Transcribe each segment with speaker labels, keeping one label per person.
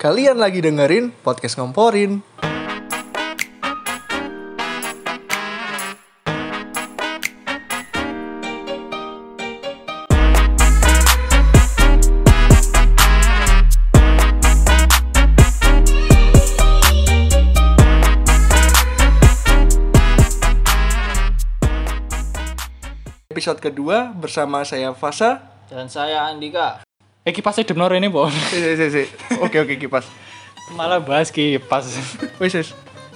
Speaker 1: Kalian lagi dengerin podcast ngomporin. Episode kedua bersama saya Fasa.
Speaker 2: Dan saya Andika.
Speaker 3: Eh kipasnya demnor ini, Bon.
Speaker 1: Eh, eh, eh, eh. Oke oke kipas.
Speaker 3: Malah bahas kipas.
Speaker 1: Wes wes.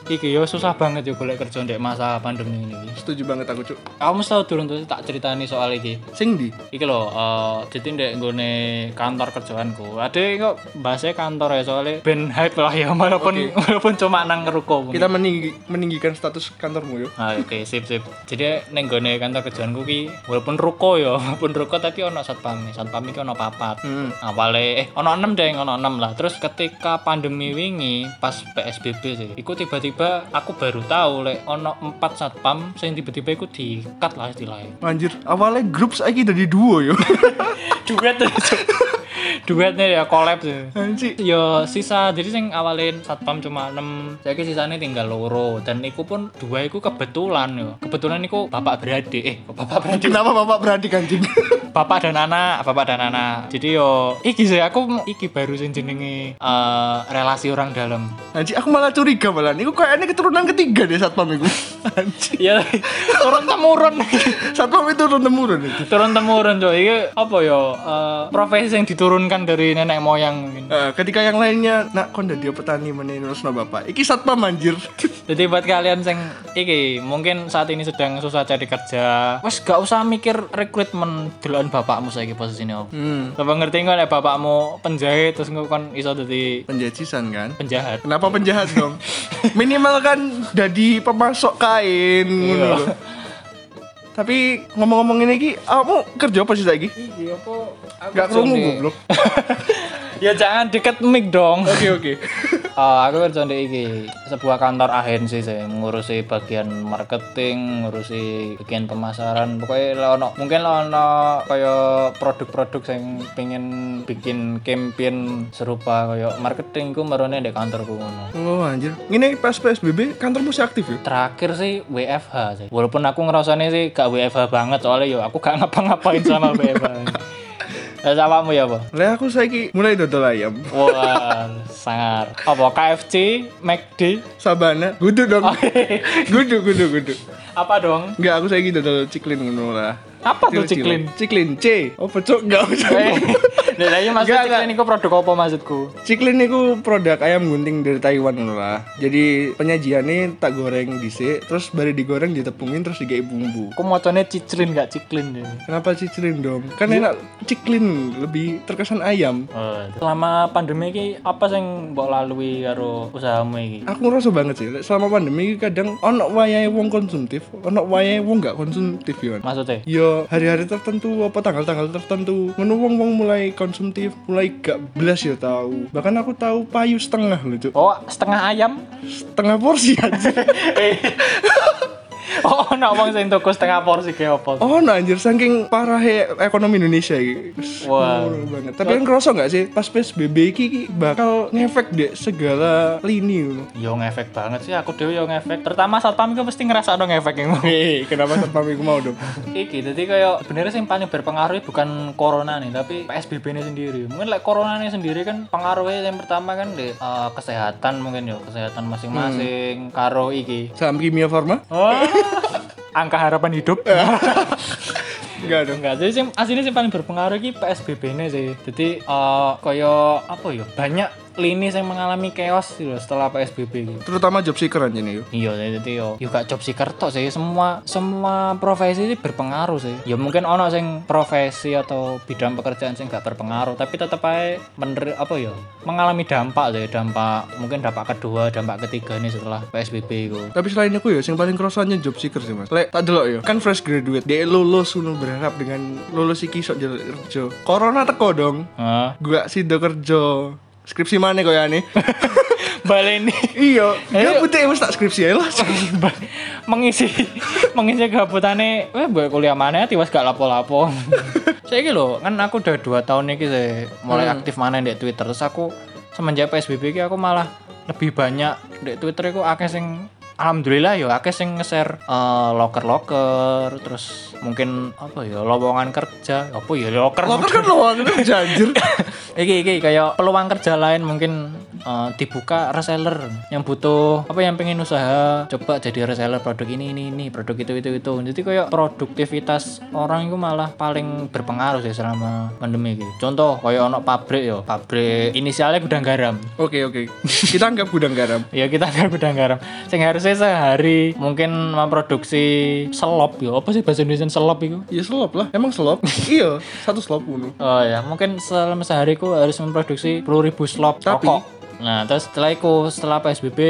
Speaker 3: Iki yo susah banget yo golek kerja ndek masa pandemi ini.
Speaker 1: Setuju banget aku cuk.
Speaker 3: Kamu tahu durung tuh tak ceritani soal iki.
Speaker 1: Sing di.
Speaker 3: Iki lho, eh jadi ndek nggone kantor kerjaanku. Ade kok bahasnya kantor ya soalnya ben hype lah ya walaupun walaupun cuma nang ruko.
Speaker 1: Kita meninggi- meninggikan status kantormu yuk.
Speaker 3: Ah, oke, sip sip. Jadi neng gone kantor kerjaanku ki walaupun ruko ya, walaupun ruko tapi ono satpam, satpam iki ono papat.
Speaker 1: Hmm.
Speaker 3: Awale eh ono 6 deh, ono 6 lah. Terus ketika pandemi wingi pas PSBB sih, iku tiba-tiba aku baru tahu lek ono 4 satpam sing tiba-tiba iku di-cut lah istilahnya.
Speaker 1: Anjir, awalnya grup saiki dari duo yo.
Speaker 3: Duet Duetnya ya collab sih.
Speaker 1: Anjir.
Speaker 3: Yo sisa jadi sing awalin satpam cuma 6 saya sisanya tinggal loro dan iku pun dua iku kebetulan yo kebetulan iku bapak beradik eh kok bapak beradik
Speaker 1: Kenapa Bapak beradik anjing?
Speaker 3: bapak dan anak bapak dan anak jadi yo iki sih aku iki baru sing jenenge eh, relasi orang dalam
Speaker 1: Anjir, aku malah curiga malah. Niku kayaknya keturunan ketiga deh satpam iku. Anjir.
Speaker 3: ya turun temurun
Speaker 1: Satpam itu turun temurun itu.
Speaker 3: turun temurun coy iki apa yo eh, profesi yang diturunkan dari nenek moyang mungkin
Speaker 1: Eh, ketika yang lainnya nak kon dia petani menurut bapak iki satpam anjir
Speaker 3: Jadi buat kalian sing iki mungkin saat ini sedang susah cari kerja, wes gak usah mikir rekrutmen delokan bapakmu saiki posisine opo.
Speaker 1: hmm.
Speaker 3: Coba ngerti nggak nek bapakmu penjahit terus engko kon iso dadi
Speaker 1: penjajisan kan
Speaker 3: penjahat.
Speaker 1: kenapa penjahat dong minimal kan jadi pemasok kain ngono lho. tapi ngomong-ngomong ini ki kamu kerja apa sih lagi
Speaker 3: Iki apa?
Speaker 1: nggak kerungu goblok
Speaker 3: ya jangan deket mic dong.
Speaker 1: oke oke
Speaker 3: Eh, aku kerja di iki sebuah kantor agensi sih ngurusi bagian marketing ngurusi bagian pemasaran pokoknya lah ono mungkin lah ono kaya produk-produk yang pengen bikin campaign serupa kaya marketing ku merone di kantorku ngono
Speaker 1: oh anjir ini pas psbb kantormu sih aktif ya
Speaker 3: terakhir sih WFH sih walaupun aku ngerasanya sih gak WFH banget soalnya yo aku gak ngapa-ngapain sama WFH Lah samamu ya, Pak?
Speaker 1: lah aku saiki mulai dodol ayam
Speaker 3: Wah, sangar. Apa KFC, McD?
Speaker 1: sabana gudu dong
Speaker 3: Ah,
Speaker 1: gudu gudu gudu
Speaker 3: Apa dong?
Speaker 1: Enggak, aku saiki dodol ciklin ngono lah
Speaker 3: Apa tuh ciklin?
Speaker 1: ciklin C oh pecok enggak usah
Speaker 3: Eh, Lah iya maksud
Speaker 1: Enggak,
Speaker 3: ciklin iku produk apa maksudku?
Speaker 1: Ciklin itu produk ayam gunting dari Taiwan ngono lah. Jadi penyajiannya tak goreng dhisik, terus baru digoreng ditepungin terus digawe bumbu.
Speaker 3: Aku mocone ciclin gak ciklin ini.
Speaker 1: Kenapa ciklin dong? Kan
Speaker 3: Iya.
Speaker 1: enak ciklin lebih terkesan ayam.
Speaker 3: Selama pandemi ini apa yang mbok lalui karo usahamu ini?
Speaker 1: Aku ngerasa banget sih, selama pandemi iki kadang ono wayahe wong konsumtif, ono wayahe wong gak konsumtif yo.
Speaker 3: Maksudnya?
Speaker 1: Yo hari-hari tertentu apa tanggal-tanggal tertentu ngono wong-wong mulai konsumtif, mulai gak belas ya tahu. Bahkan aku tahu payu setengah loh, Cuk.
Speaker 3: Oh, setengah ayam?
Speaker 1: Setengah porsi aja.
Speaker 3: Oh, ana wong sing tuku setengah porsi ge apa?
Speaker 1: Oh, nah anjir saking parah ekonomi Indonesia iki.
Speaker 3: Wah.
Speaker 1: Wow. banget. Tapi kan kerasa nggak sih pas PSBB iki iki bakal ngefek dek segala lini ngono.
Speaker 3: Yo ngefek banget sih aku dhewe yo ngefek. Terutama satpam iku mesti ngrasakno ngefek iku.
Speaker 1: Hei, kenapa satpam iku mau dong?
Speaker 3: Iki jadi kayak sebenarnya sih yang paling berpengaruh bukan corona nih tapi PSBB nya sendiri mungkin like corona nih sendiri kan pengaruhnya yang pertama kan di eh, kesehatan mungkin ya kesehatan masing-masing karo iki
Speaker 1: Saham kimia farma?
Speaker 3: Oh. angka harapan hidup
Speaker 1: Enggak dong.
Speaker 3: enggak jadi sih aslinya sih paling berpengaruh ki PSBB nya sih jadi eh kayak apa ya banyak lini yang mengalami chaos gitu loh setelah PSBB gitu.
Speaker 1: Terutama job seeker aja nih. yo.
Speaker 3: Iya, jadi yo, yo gak job seeker tok sih. Semua semua profesi itu berpengaruh sih. Ya mungkin ono sing profesi atau bidang pekerjaan sing gak berpengaruh, tapi tetep ae mener apa ya? Mengalami dampak sih, dampak mungkin dampak kedua, dampak ketiga nih setelah PSBB itu.
Speaker 1: Tapi selain aku ya, yang paling kerasanya job seeker sih mas. Lek tak delok ya, kan fresh graduate, dia lulus ngono berharap dengan lulus iki sok jalur kerja. Corona teko dong,
Speaker 3: Heeh.
Speaker 1: gua sido kerja. Skripsi mana kau ya nih?
Speaker 3: Baleni
Speaker 1: iya, dia putih mas tak skripsi ya lah.
Speaker 3: mengisi mengisi kehabutane eh boy kuliah mana tiwas gak lapo-lapo saya gitu kan aku udah dua tahun nih sih mulai aktif mana di Twitter terus aku semenjak PSBB iki aku malah lebih banyak di Twitter aku akeh sing alhamdulillah ya akeh sing nge-share eh, loker-loker terus mungkin apa ya lowongan kerja apa ya loker
Speaker 1: Loker kan lowongan kerja anjir.
Speaker 3: iki iki kayak peluang kerja lain mungkin eh, dibuka reseller yang butuh apa yang pengen usaha coba jadi reseller produk ini ini ini produk itu itu itu jadi kayak produktivitas orang itu malah paling berpengaruh sih selama pandemi iki contoh kayak ono pabrik yo pabrik inisialnya gudang garam
Speaker 1: Oke oke. Kita anggap gudang garam.
Speaker 3: ya kita kan gudang garam sing harusnya sehari mungkin memproduksi selop yo apa sih bahasa Indonesia selop itu
Speaker 1: Iya selop lah. Emang selop? iya. Satu selop bunuh.
Speaker 3: Oh ya, mungkin selama sehari ku harus memproduksi 10.000 slop
Speaker 1: Tapi-
Speaker 3: rokok. Nah, terus setelah itu, setelah PSBB,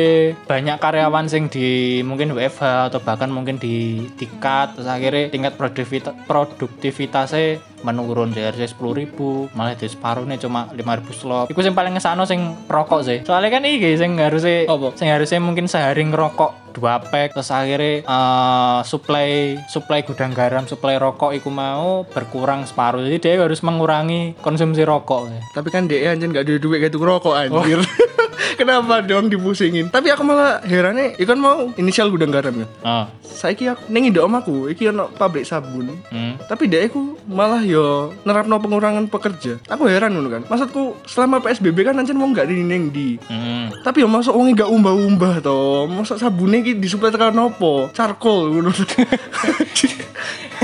Speaker 3: banyak karyawan sing di mungkin WFH atau bahkan mungkin di di cut, terus akhirnya tingkat produktivitas produktivitasnya menurun dari harusnya 10.000 malah di separuh nih cuma 5.000 slop. Iku sing paling ngesano sing rokok sih. Soalnya kan iki sing harusnya
Speaker 1: Apa?
Speaker 3: sing harusnya mungkin sehari ngerokok dua pack terus akhirnya eh, supply supply gudang garam supply rokok iku mau berkurang separuh jadi dia harus mengurangi konsumsi rokok
Speaker 1: Tapi kan DE anjir gak ada duit kayak tuku rokok anjir. Kenapa dong dipusingin? Tapi aku malah herannya, ikan mau inisial gudang garam ya.
Speaker 3: ah
Speaker 1: Saiki aku nengi ndok omaku, iki ono pabrik sabun.
Speaker 3: hmm.
Speaker 1: Tapi dek aku malah yo nerapno pengurangan pekerja. Aku heran ngono kan. Maksudku selama PSBB kan anjir mau gak neng di.
Speaker 3: Hmm.
Speaker 1: Tapi yo masuk wonge gak umbah-umbah to. Masuk sabune iki disuplai tekan nopo? Charcoal ngono.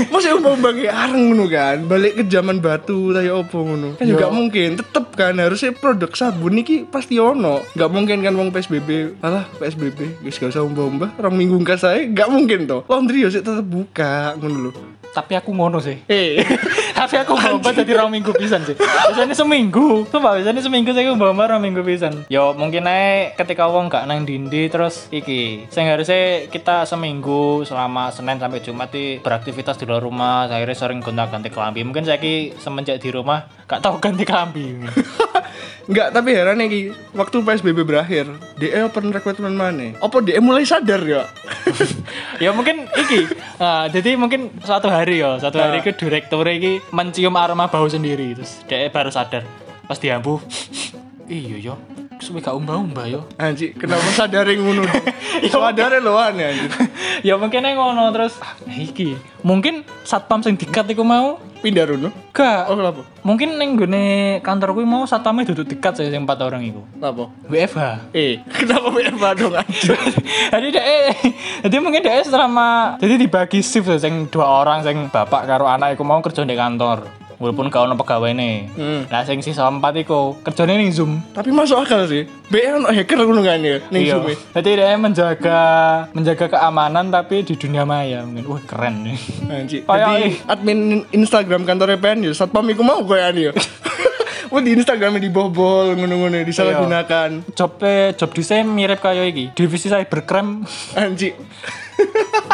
Speaker 1: Masih umbah-umbah ki areng ngono kan. Balik ke zaman batu ta yo opo ngono. Kan juga mungkin tetep kan harusnya produk sabun iki pasti ono. Gak mungkin kan wong PSBB. Alah PSBB wis gak usah umbah-umbah. Rong minggu kas saya gak mungkin to. Laundry yo sik tetep buka ngono lho.
Speaker 3: tapi aku ngono sih
Speaker 1: Eh.
Speaker 3: tapi aku bawa jadi rong minggu pisan sih biasanya seminggu coba biasanya seminggu saya bawa bawa rong minggu pisan yo mungkin aja ketika wong gak nang dindi terus iki sing harusnya kita seminggu selama senin sampai jumat di beraktivitas di luar rumah akhirnya sering gonta ganti kelambi mungkin saya ki semenjak di rumah gak tau ganti kelambi
Speaker 1: Enggak, tapi herannya ki waktu PSBB berakhir, DE open recruitment mana? Apa DE mulai sadar ya?
Speaker 3: ya mungkin iki Ah, jadi mungkin suatu hari ya suatu hari ke direktur iki mencium aroma bau sendiri terus dia baru sadar pas diambu iya yo suwe gak umbah-umbah yo
Speaker 1: Anjir, kenapa sadare ngono? sadare loan ya anjir.
Speaker 3: ya mungkin ae ngono terus ah, iki mungkin satpam sing dikat iku mau
Speaker 1: Pindah rono. Oh,
Speaker 3: gak
Speaker 1: kenapa?
Speaker 3: mungkin neng gone kantor kuwi mau satpamnya duduk dekat saya sing empat orang iku
Speaker 1: Kenapa?
Speaker 3: WFH
Speaker 1: Eh, kenapa WFH dong anjir?
Speaker 3: jadi dek jadi mungkin dek selama jadi dibagi shift ya, sing dua orang sing bapak karo anak iku mau kerja di kantor walaupun gak ono pegawai nih
Speaker 1: Hmm.
Speaker 3: nah sing sisa empat iku kerjanya ning zoom
Speaker 1: Tapi masuk akal sih. BE ono hacker ngono kan ya ning
Speaker 3: Iya.
Speaker 1: Zoom. e.
Speaker 3: jadi dek menjaga menjaga keamanan tapi di dunia maya mungkin wah keren nih
Speaker 1: Anjir.
Speaker 3: Kayak
Speaker 1: Jadi admin Instagram kantornya PN ya, satpam iku mau koyan ya. Wah di Instagramnya dibobol ngono-ngono disalahgunakan.
Speaker 3: jobnya job desain mirip kayak iki divisi cybercrime
Speaker 1: Anjir.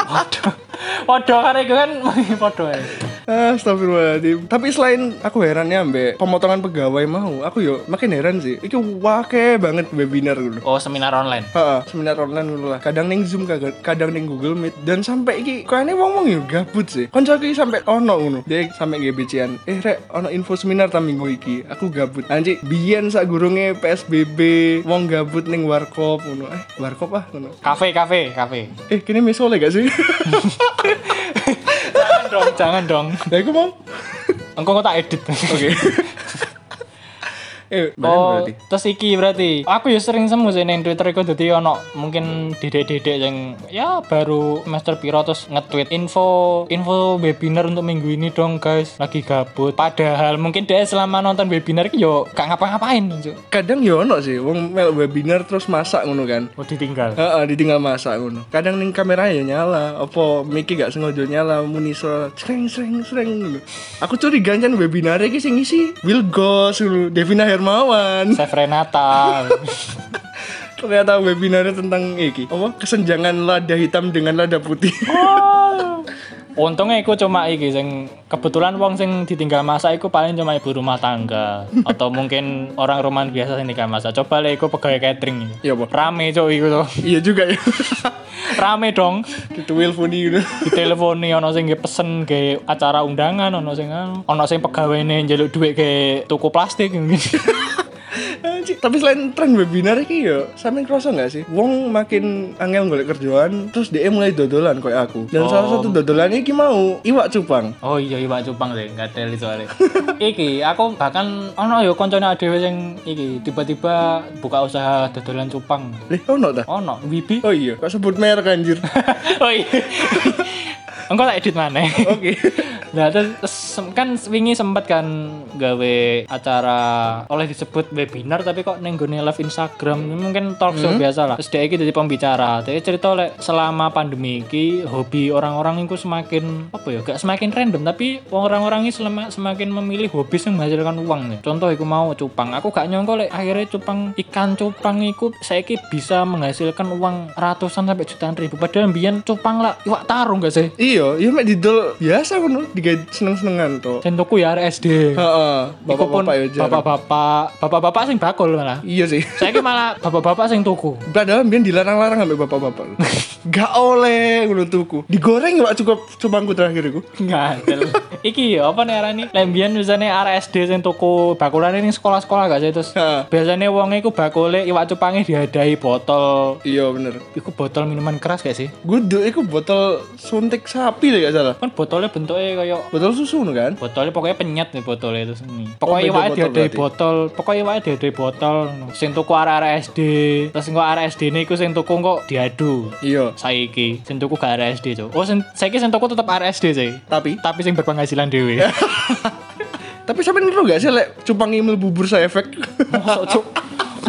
Speaker 3: waduh waduh karena itu kan waduh ya
Speaker 1: Astagfirullahaladzim Tapi selain aku herannya ambe pemotongan pegawai mau Aku yo makin heran sih Itu wake banget webinar gitu
Speaker 3: oh seminar online
Speaker 1: Heeh, seminar online gitu lah. Kadang neng Zoom, kadang, kadang neng Google Meet dan sampai iki kayaknya wong wong yo gabut sih. Konco iki sampai ono ngono. Dia sampai GBC-an. Eh rek, ono info seminar ta minggu iki. Aku gabut. Anjir, biyen sak gurunge PSBB, wong gabut neng warkop ngono. Eh, warkop ah ngono.
Speaker 3: kafe kafe kafe
Speaker 1: Eh, kini mesole gak sih?
Speaker 3: jangan dong jangan dong
Speaker 1: Lah iku mau.
Speaker 3: engkau kok tak edit
Speaker 1: Oke. eh,
Speaker 3: Oh,
Speaker 1: berarti.
Speaker 3: terus iki berarti. Aku ya sering semu sih neng Twitter iku dadi ono mungkin dedek-dedek yang ya baru semester piro terus nge-tweet info info webinar untuk minggu ini dong guys, lagi gabut. Padahal mungkin dia selama nonton webinar iki yo gak ngapa-ngapain, Cuk.
Speaker 1: kadang yo ono sih wong mel webinar terus masak ngono kan
Speaker 3: Oh, ditinggal.
Speaker 1: Heeh, ditinggal masak ngono. Kadang ning kamera ya nyala, apa mic gak sengaja nyala muni suara sreng sreng sreng ngono. Aku curiga kan webinar iki sing ngisi Will Goss ngono, Devina Hermawan.
Speaker 3: Chef Renata.
Speaker 1: Ternyata webinarnya tentang iki, apa kesenjangan lada hitam dengan lada putih.
Speaker 3: Oh. Untungnya aku cuma iki sing kebetulan wong sing ditinggal masak iku paling cuma ibu rumah tangga atau mungkin orang rumah biasa sing ditinggal masak. Coba lek iku pegawai catering.
Speaker 1: Iya, apa?
Speaker 3: Rame cok iku tuh.
Speaker 1: iya juga ya.
Speaker 3: rame dong
Speaker 1: Itu Will Funny ngono.
Speaker 3: diteleponi ono sing nggih pesen ke acara undangan eh, ono sing anu. ono sing pegawe njaluk dhuwit ke tuku plastik mungkin
Speaker 1: Ci, tapi selain tren webinar iki ya, yo, sampean krasa nggak sih? Wong makin angel golek kerjaan, terus dia mulai dodolan kayak aku. Dan salah satu dodolan iki mau iwak cupang.
Speaker 3: Oh iya Iwak Cupang sih, enggak teli soalnya. iki aku bahkan ono yo koncone dhewe sing iki tiba-tiba buka usaha dodolan cupang.
Speaker 1: Lih, iya, ono ta?
Speaker 3: Ono Wibi.
Speaker 1: Oh iya, kok sebut merek anjir.
Speaker 3: oh iya. Engko tak edit maneh.
Speaker 1: Oke.
Speaker 3: Nah, terus, terus sem- kan wingi sempat kan gawe acara oleh disebut webinar tapi kok neng nggone live Instagram ini mungkin talk show biasa lah. Terus dia iki jadi pembicara. Dia cerita oleh selama pandemi iki hobi orang-orang itu semakin apa ya? Gak semakin random tapi orang-orang ini selama- semakin memilih hobi yang menghasilkan uang nih. Contoh iku mau cupang. Aku gak nyongko lek akhirnya cupang ikan cupang iku saiki bisa menghasilkan uang ratusan sampai jutaan ribu. Padahal mbiyen cupang lah iwak tarung gak sih?
Speaker 1: Iya, iya mek didol biasa ngono, digawe seneng-senengan to.
Speaker 3: Sendokku ya arek SD.
Speaker 1: Heeh,
Speaker 3: Iku pun
Speaker 1: bapak-bapak ya, yo jarang.
Speaker 3: bapak-bapak, bapak-bapak sing bakul malah.
Speaker 1: Iya sih.
Speaker 3: Saya malah bapak-bapak sing tuku.
Speaker 1: Padahal mbiyen dilarang-larang sampe bapak-bapak. lho. Gak oleh ngono tuku. Digoreng iwak cukup cupangku terakhir iku.
Speaker 3: Ngadel. Iki ya apa nih arane? Lembian biasanya arek SD sing tuku bakulan ini sekolah-sekolah gak sih terus.
Speaker 1: Ha.
Speaker 3: Biasanya wong iku bakule iwak cupange diadahi botol
Speaker 1: Iya bener.
Speaker 3: iku botol minuman keras gak sih?
Speaker 1: Guduk iku botol suntik sapi lho gak salah.
Speaker 3: Kan botolnya bentuknya kayak
Speaker 1: Botol susu ngono kan?
Speaker 3: botolnya pokoknya penyet nih botolnya itu sini
Speaker 1: Oh,
Speaker 3: pokoknya
Speaker 1: beda
Speaker 3: iwaknya
Speaker 1: botol
Speaker 3: diadai
Speaker 1: berarti.
Speaker 3: botol pokoknya iwaknya diadai botol sing tuku arek-arek SD terus sing kok arek SD ini iku sing tuku kok diadu
Speaker 1: Iya.
Speaker 3: saiki sing tuku gak RSD cok oh sen, saiki sing tuku tetep RSD sih
Speaker 1: Tapi
Speaker 3: tapi sing berpenghasilan dhewe
Speaker 1: tapi sampe ngeru gak sih lek cupangi mlebu bursa efek?
Speaker 3: mosok cok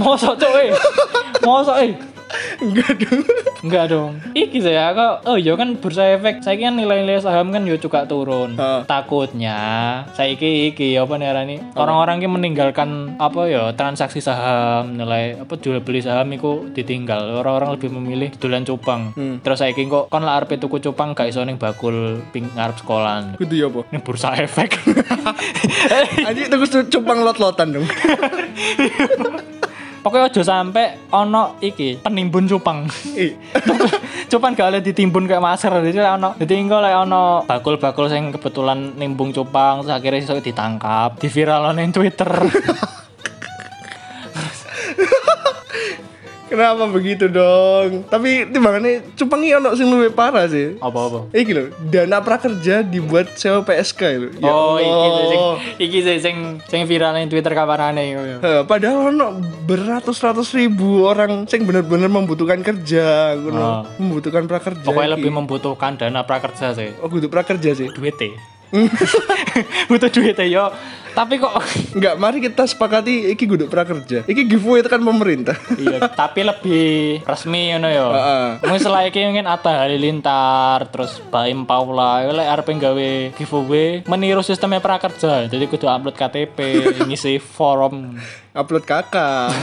Speaker 3: mosok cok eh mosok eh
Speaker 1: Enggak dong.
Speaker 3: enggak dong iki saya kok oh iya kan bursa efek saiki kan nilai-nilai saham kan yo juga turun
Speaker 1: Ha.
Speaker 3: takutnya saiki iki apa nih arani orang-orang ki meninggalkan apa ya transaksi saham nilai apa jual beli saham iku ditinggal orang-orang lebih memilih dolan cupang terus saiki kok kon lah arep tuku cupang gak iso ning bakul ping ngarep sekolahan
Speaker 1: Kudu ya apa?
Speaker 3: ini bursa efek Eh,
Speaker 1: Anjir tuku su- cupang lot-lotan dong.
Speaker 3: pokoknya aja sampai ono iki penimbun cupang
Speaker 1: Eh,
Speaker 3: cupang gak oleh ditimbun kayak masker jadi lah ono jadi engko lek ono bakul-bakul sing kebetulan nimbung cupang terus akhirnya iso ditangkap di viral ning Twitter
Speaker 1: kenapa begitu dong? Tapi timbangannya cupangi ono sing luwih parah sih.
Speaker 3: apa-apa
Speaker 1: Iki loh, dana prakerja dibuat sewa PSK itu.
Speaker 3: oh iki sih sing iki sih sing sing viral ning Twitter kabarane iku ya.
Speaker 1: Heh, padahal ono beratus-ratus ribu orang sing bener-bener membutuhkan kerja, ngono.
Speaker 3: Ah.
Speaker 1: membutuhkan prakerja.
Speaker 3: pokoknya
Speaker 1: iki.
Speaker 3: lebih membutuhkan dana prakerja sih
Speaker 1: Oh, kudu prakerja sih.
Speaker 3: duit butuh duit yo tapi kok
Speaker 1: Enggak, mari kita sepakati iki kudu prakerja. Iki giveaway tekan pemerintah.
Speaker 3: iya tapi lebih resmi ngono ya
Speaker 1: Heeh.
Speaker 3: mungkin setelah iki mungkin Atta Halilintar terus Baim Paula iku lek arep gawe giveaway meniru sistemnya prakerja jadi kudu upload KTP ngisi forum
Speaker 1: Upload kakak.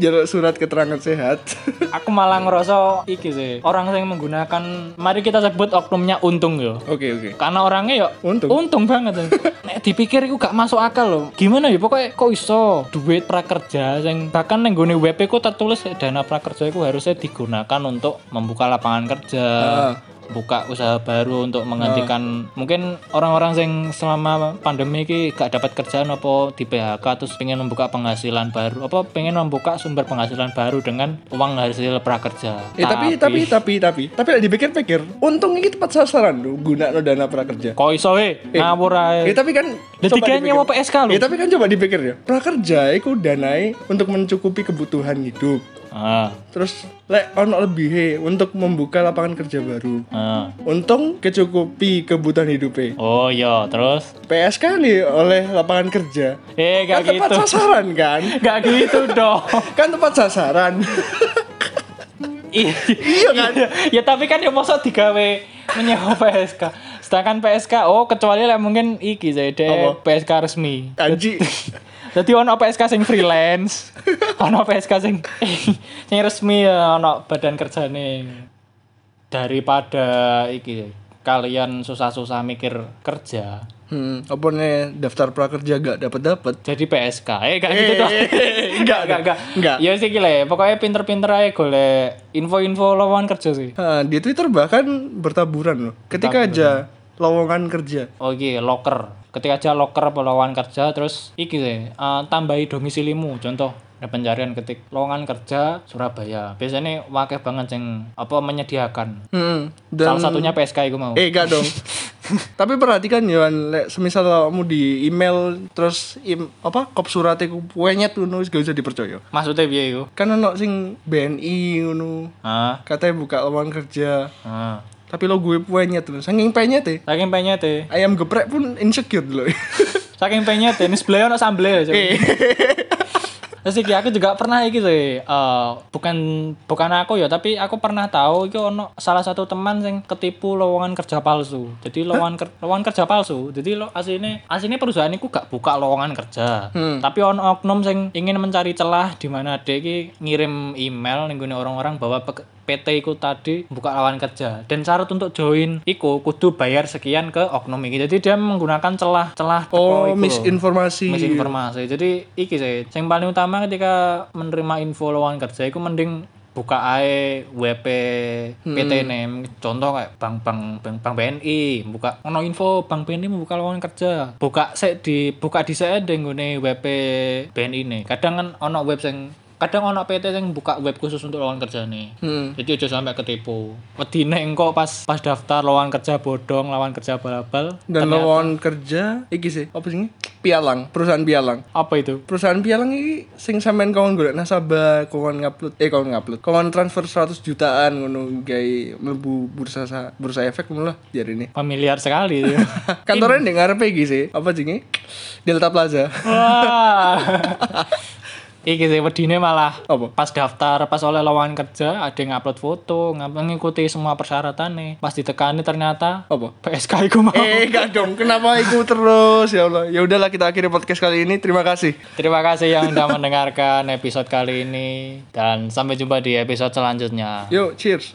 Speaker 1: Jaluk surat keterangan sehat.
Speaker 3: aku malah ngerasa iki sih orang yang menggunakan mari kita sebut oknumnya untung yo
Speaker 1: Oke, oke.
Speaker 3: karena orangnya yo
Speaker 1: Untung.
Speaker 3: untung banget ya. Nek dipikir iku gak masuk akal loh gimana ya pokoknya kok iso duit prakerja sing bahkan neng gone WP ku tertulis eh, dana prakerja iku harusnya digunakan untuk membuka lapangan kerja
Speaker 1: Ah.
Speaker 3: buka usaha baru untuk menggantikan mungkin orang-orang yang selama pandemi ini gak dapat kerjaan apa di PHK terus pengen membuka penghasilan baru apa pengen membuka sumber penghasilan baru dengan uang hasil prakerja
Speaker 1: Eh, tapi tapi tapi tapi tapi lagi pikir-pikir, untung iki tepat sasaran lho gunakno dana prakerja.
Speaker 3: kok iso we ngawur
Speaker 1: Ya
Speaker 3: ae
Speaker 1: tapi kan
Speaker 3: Dan
Speaker 1: coba
Speaker 3: dikira
Speaker 1: dipikir-
Speaker 3: nyewa PSK lho.
Speaker 1: Ya tapi kan coba dipikir ya. Prakerja iku danai untuk mencukupi kebutuhan hidup.
Speaker 3: Ah,
Speaker 1: Terus lek ono lebihe untuk membuka lapangan kerja baru.
Speaker 3: ah.
Speaker 1: Untung kecukupi kebutuhan hidupnya.
Speaker 3: Oh iya, terus?
Speaker 1: PSK nih oleh lapangan kerja.
Speaker 3: Eh,
Speaker 1: Kan
Speaker 3: gak
Speaker 1: tepat
Speaker 3: gitu.
Speaker 1: sasaran kan?
Speaker 3: Gak gitu dong.
Speaker 1: Kan tepat sasaran.
Speaker 3: I-
Speaker 1: iya kan?
Speaker 3: ya tapi kan ya masa digawe menyewa PSK. Sedangkan PSK, oh kecuali lah mungkin iki saya deh
Speaker 1: Apa?
Speaker 3: PSK resmi.
Speaker 1: Anji.
Speaker 3: Jadi ono PSK sing freelance, ono PSK sing sing resmi ya ono badan kerjane. Daripada iki kalian susah-susah mikir kerja.
Speaker 1: Hmm, apa nih daftar prakerja gak dapat dapat?
Speaker 3: jadi PSK eh gak gitu dong
Speaker 1: enggak,
Speaker 3: enggak enggak
Speaker 1: enggak.
Speaker 3: ya sih gile pokoknya pinter-pinter aja golek info-info lawan kerja sih
Speaker 1: di Twitter bahkan bertaburan loh. Ketika aja lowongan kerja.
Speaker 3: oh iya locker ketika aja locker apa lawan kerja terus iki sih eh, tambahi domisilimu contoh ada pencarian ketik lowongan kerja Surabaya biasanya wakil banget yang apa menyediakan
Speaker 1: Hmm, dan
Speaker 3: salah satunya PSK itu mau
Speaker 1: eh gak dong tapi perhatikan Yohan lek semisal kamu di email terus im, apa kop surat iku penyet ngono wis gak usah dipercaya
Speaker 3: maksudnya biaya itu
Speaker 1: kan ono sing BNI ngono
Speaker 3: ah
Speaker 1: katanya buka lowongan kerja
Speaker 3: ah
Speaker 1: tapi lo gue penyet lho saking penyet ya
Speaker 3: saking pengen teh
Speaker 1: ayam geprek pun insecure loh
Speaker 3: saking pengen teh ini sebelah orang sambel ya, Cok. Terus iki aku juga pernah iki sih. eh, bukan bukan aku ya, tapi aku pernah tahu iki ono salah satu teman sing ketipu lowongan kerja palsu. Jadi lowongan ker- lowongan kerja palsu. Jadi lo asine asine perusahaan iku gak buka lowongan kerja. Tapi ono oknum sing ingin mencari celah di mana dia iki ngirim email ning gone orang-orang bahwa pek- PT iku tadi buka lowongan kerja dan syarat untuk join iku kudu bayar sekian ke oknum iki. Jadi dia menggunakan celah-celah teko
Speaker 1: oh
Speaker 3: iku lho
Speaker 1: misinformasi
Speaker 3: misinformasi jadi iki sih yang paling utama ketika menerima info lowongan kerja itu mending buka ae WP PT ini contoh kayak bank bank bank, bank BNI buka ono info bank BNI membuka lowongan kerja buka sek di buka di sek deh nggone WP BNI nih kadang kan ono web sing kadang ono PT yang buka web khusus untuk lowongan kerja nih
Speaker 1: Hmm.
Speaker 3: jadi aja sampai ketipu wedine engko pas pas daftar lowongan kerja bodong lowongan kerja balabal
Speaker 1: dan lowongan kerja iki sih apa sih pialang perusahaan pialang
Speaker 3: apa itu
Speaker 1: perusahaan pialang iki sing sampean kawan golek nasabah kawan ngupload eh kawan ngupload kawan transfer 100 jutaan ngono gawe mlebu bursa sa- bursa efek ngono lah jar ini
Speaker 3: familiar sekali ya.
Speaker 1: kantornya di ngarepe iki sih apa jenenge Delta Plaza
Speaker 3: Wah. Iki sih wedine malah
Speaker 1: apa
Speaker 3: pas daftar, pas oleh lowongan kerja, ada yang upload foto, ngap- ngikuti semua persyaratan nih. Pas ditekani ternyata
Speaker 1: apa
Speaker 3: PSK iku mau.
Speaker 1: eh gak dong kenapa iku terus ya Allah ya udahlah kita akhiri podcast kali ini terima kasih
Speaker 3: Terima kasih yang sudah mendengarkan episode kali ini dan sampai jumpa di episode selanjutnya.
Speaker 1: yuk cheers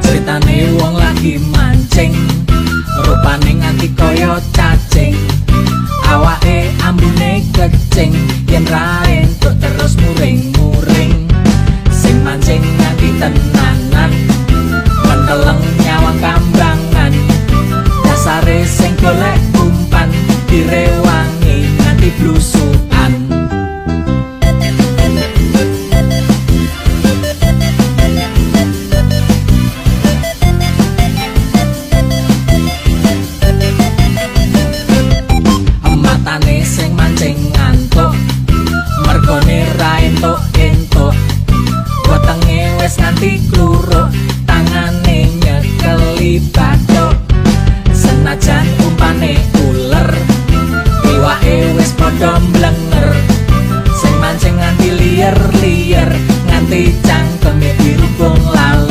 Speaker 2: Ceritane wong lagi mancing Rupane ngati koyo cacing Awake ambune kecing Yen rain tuk terus muring-muring Sing mancing nganti tenanan Menteleng nyawang kambangan Dasare sing golek umpan Direwangi nganti blusukan matane sing mancing ngantuk mergone ra entuk entuk wetenge wis nganti kluruk tangane nyekeli bathuk senajan umpane uler iwake wis padha mblenger sing mancing nganti liyer liyer nganti cangkeme dirubung laler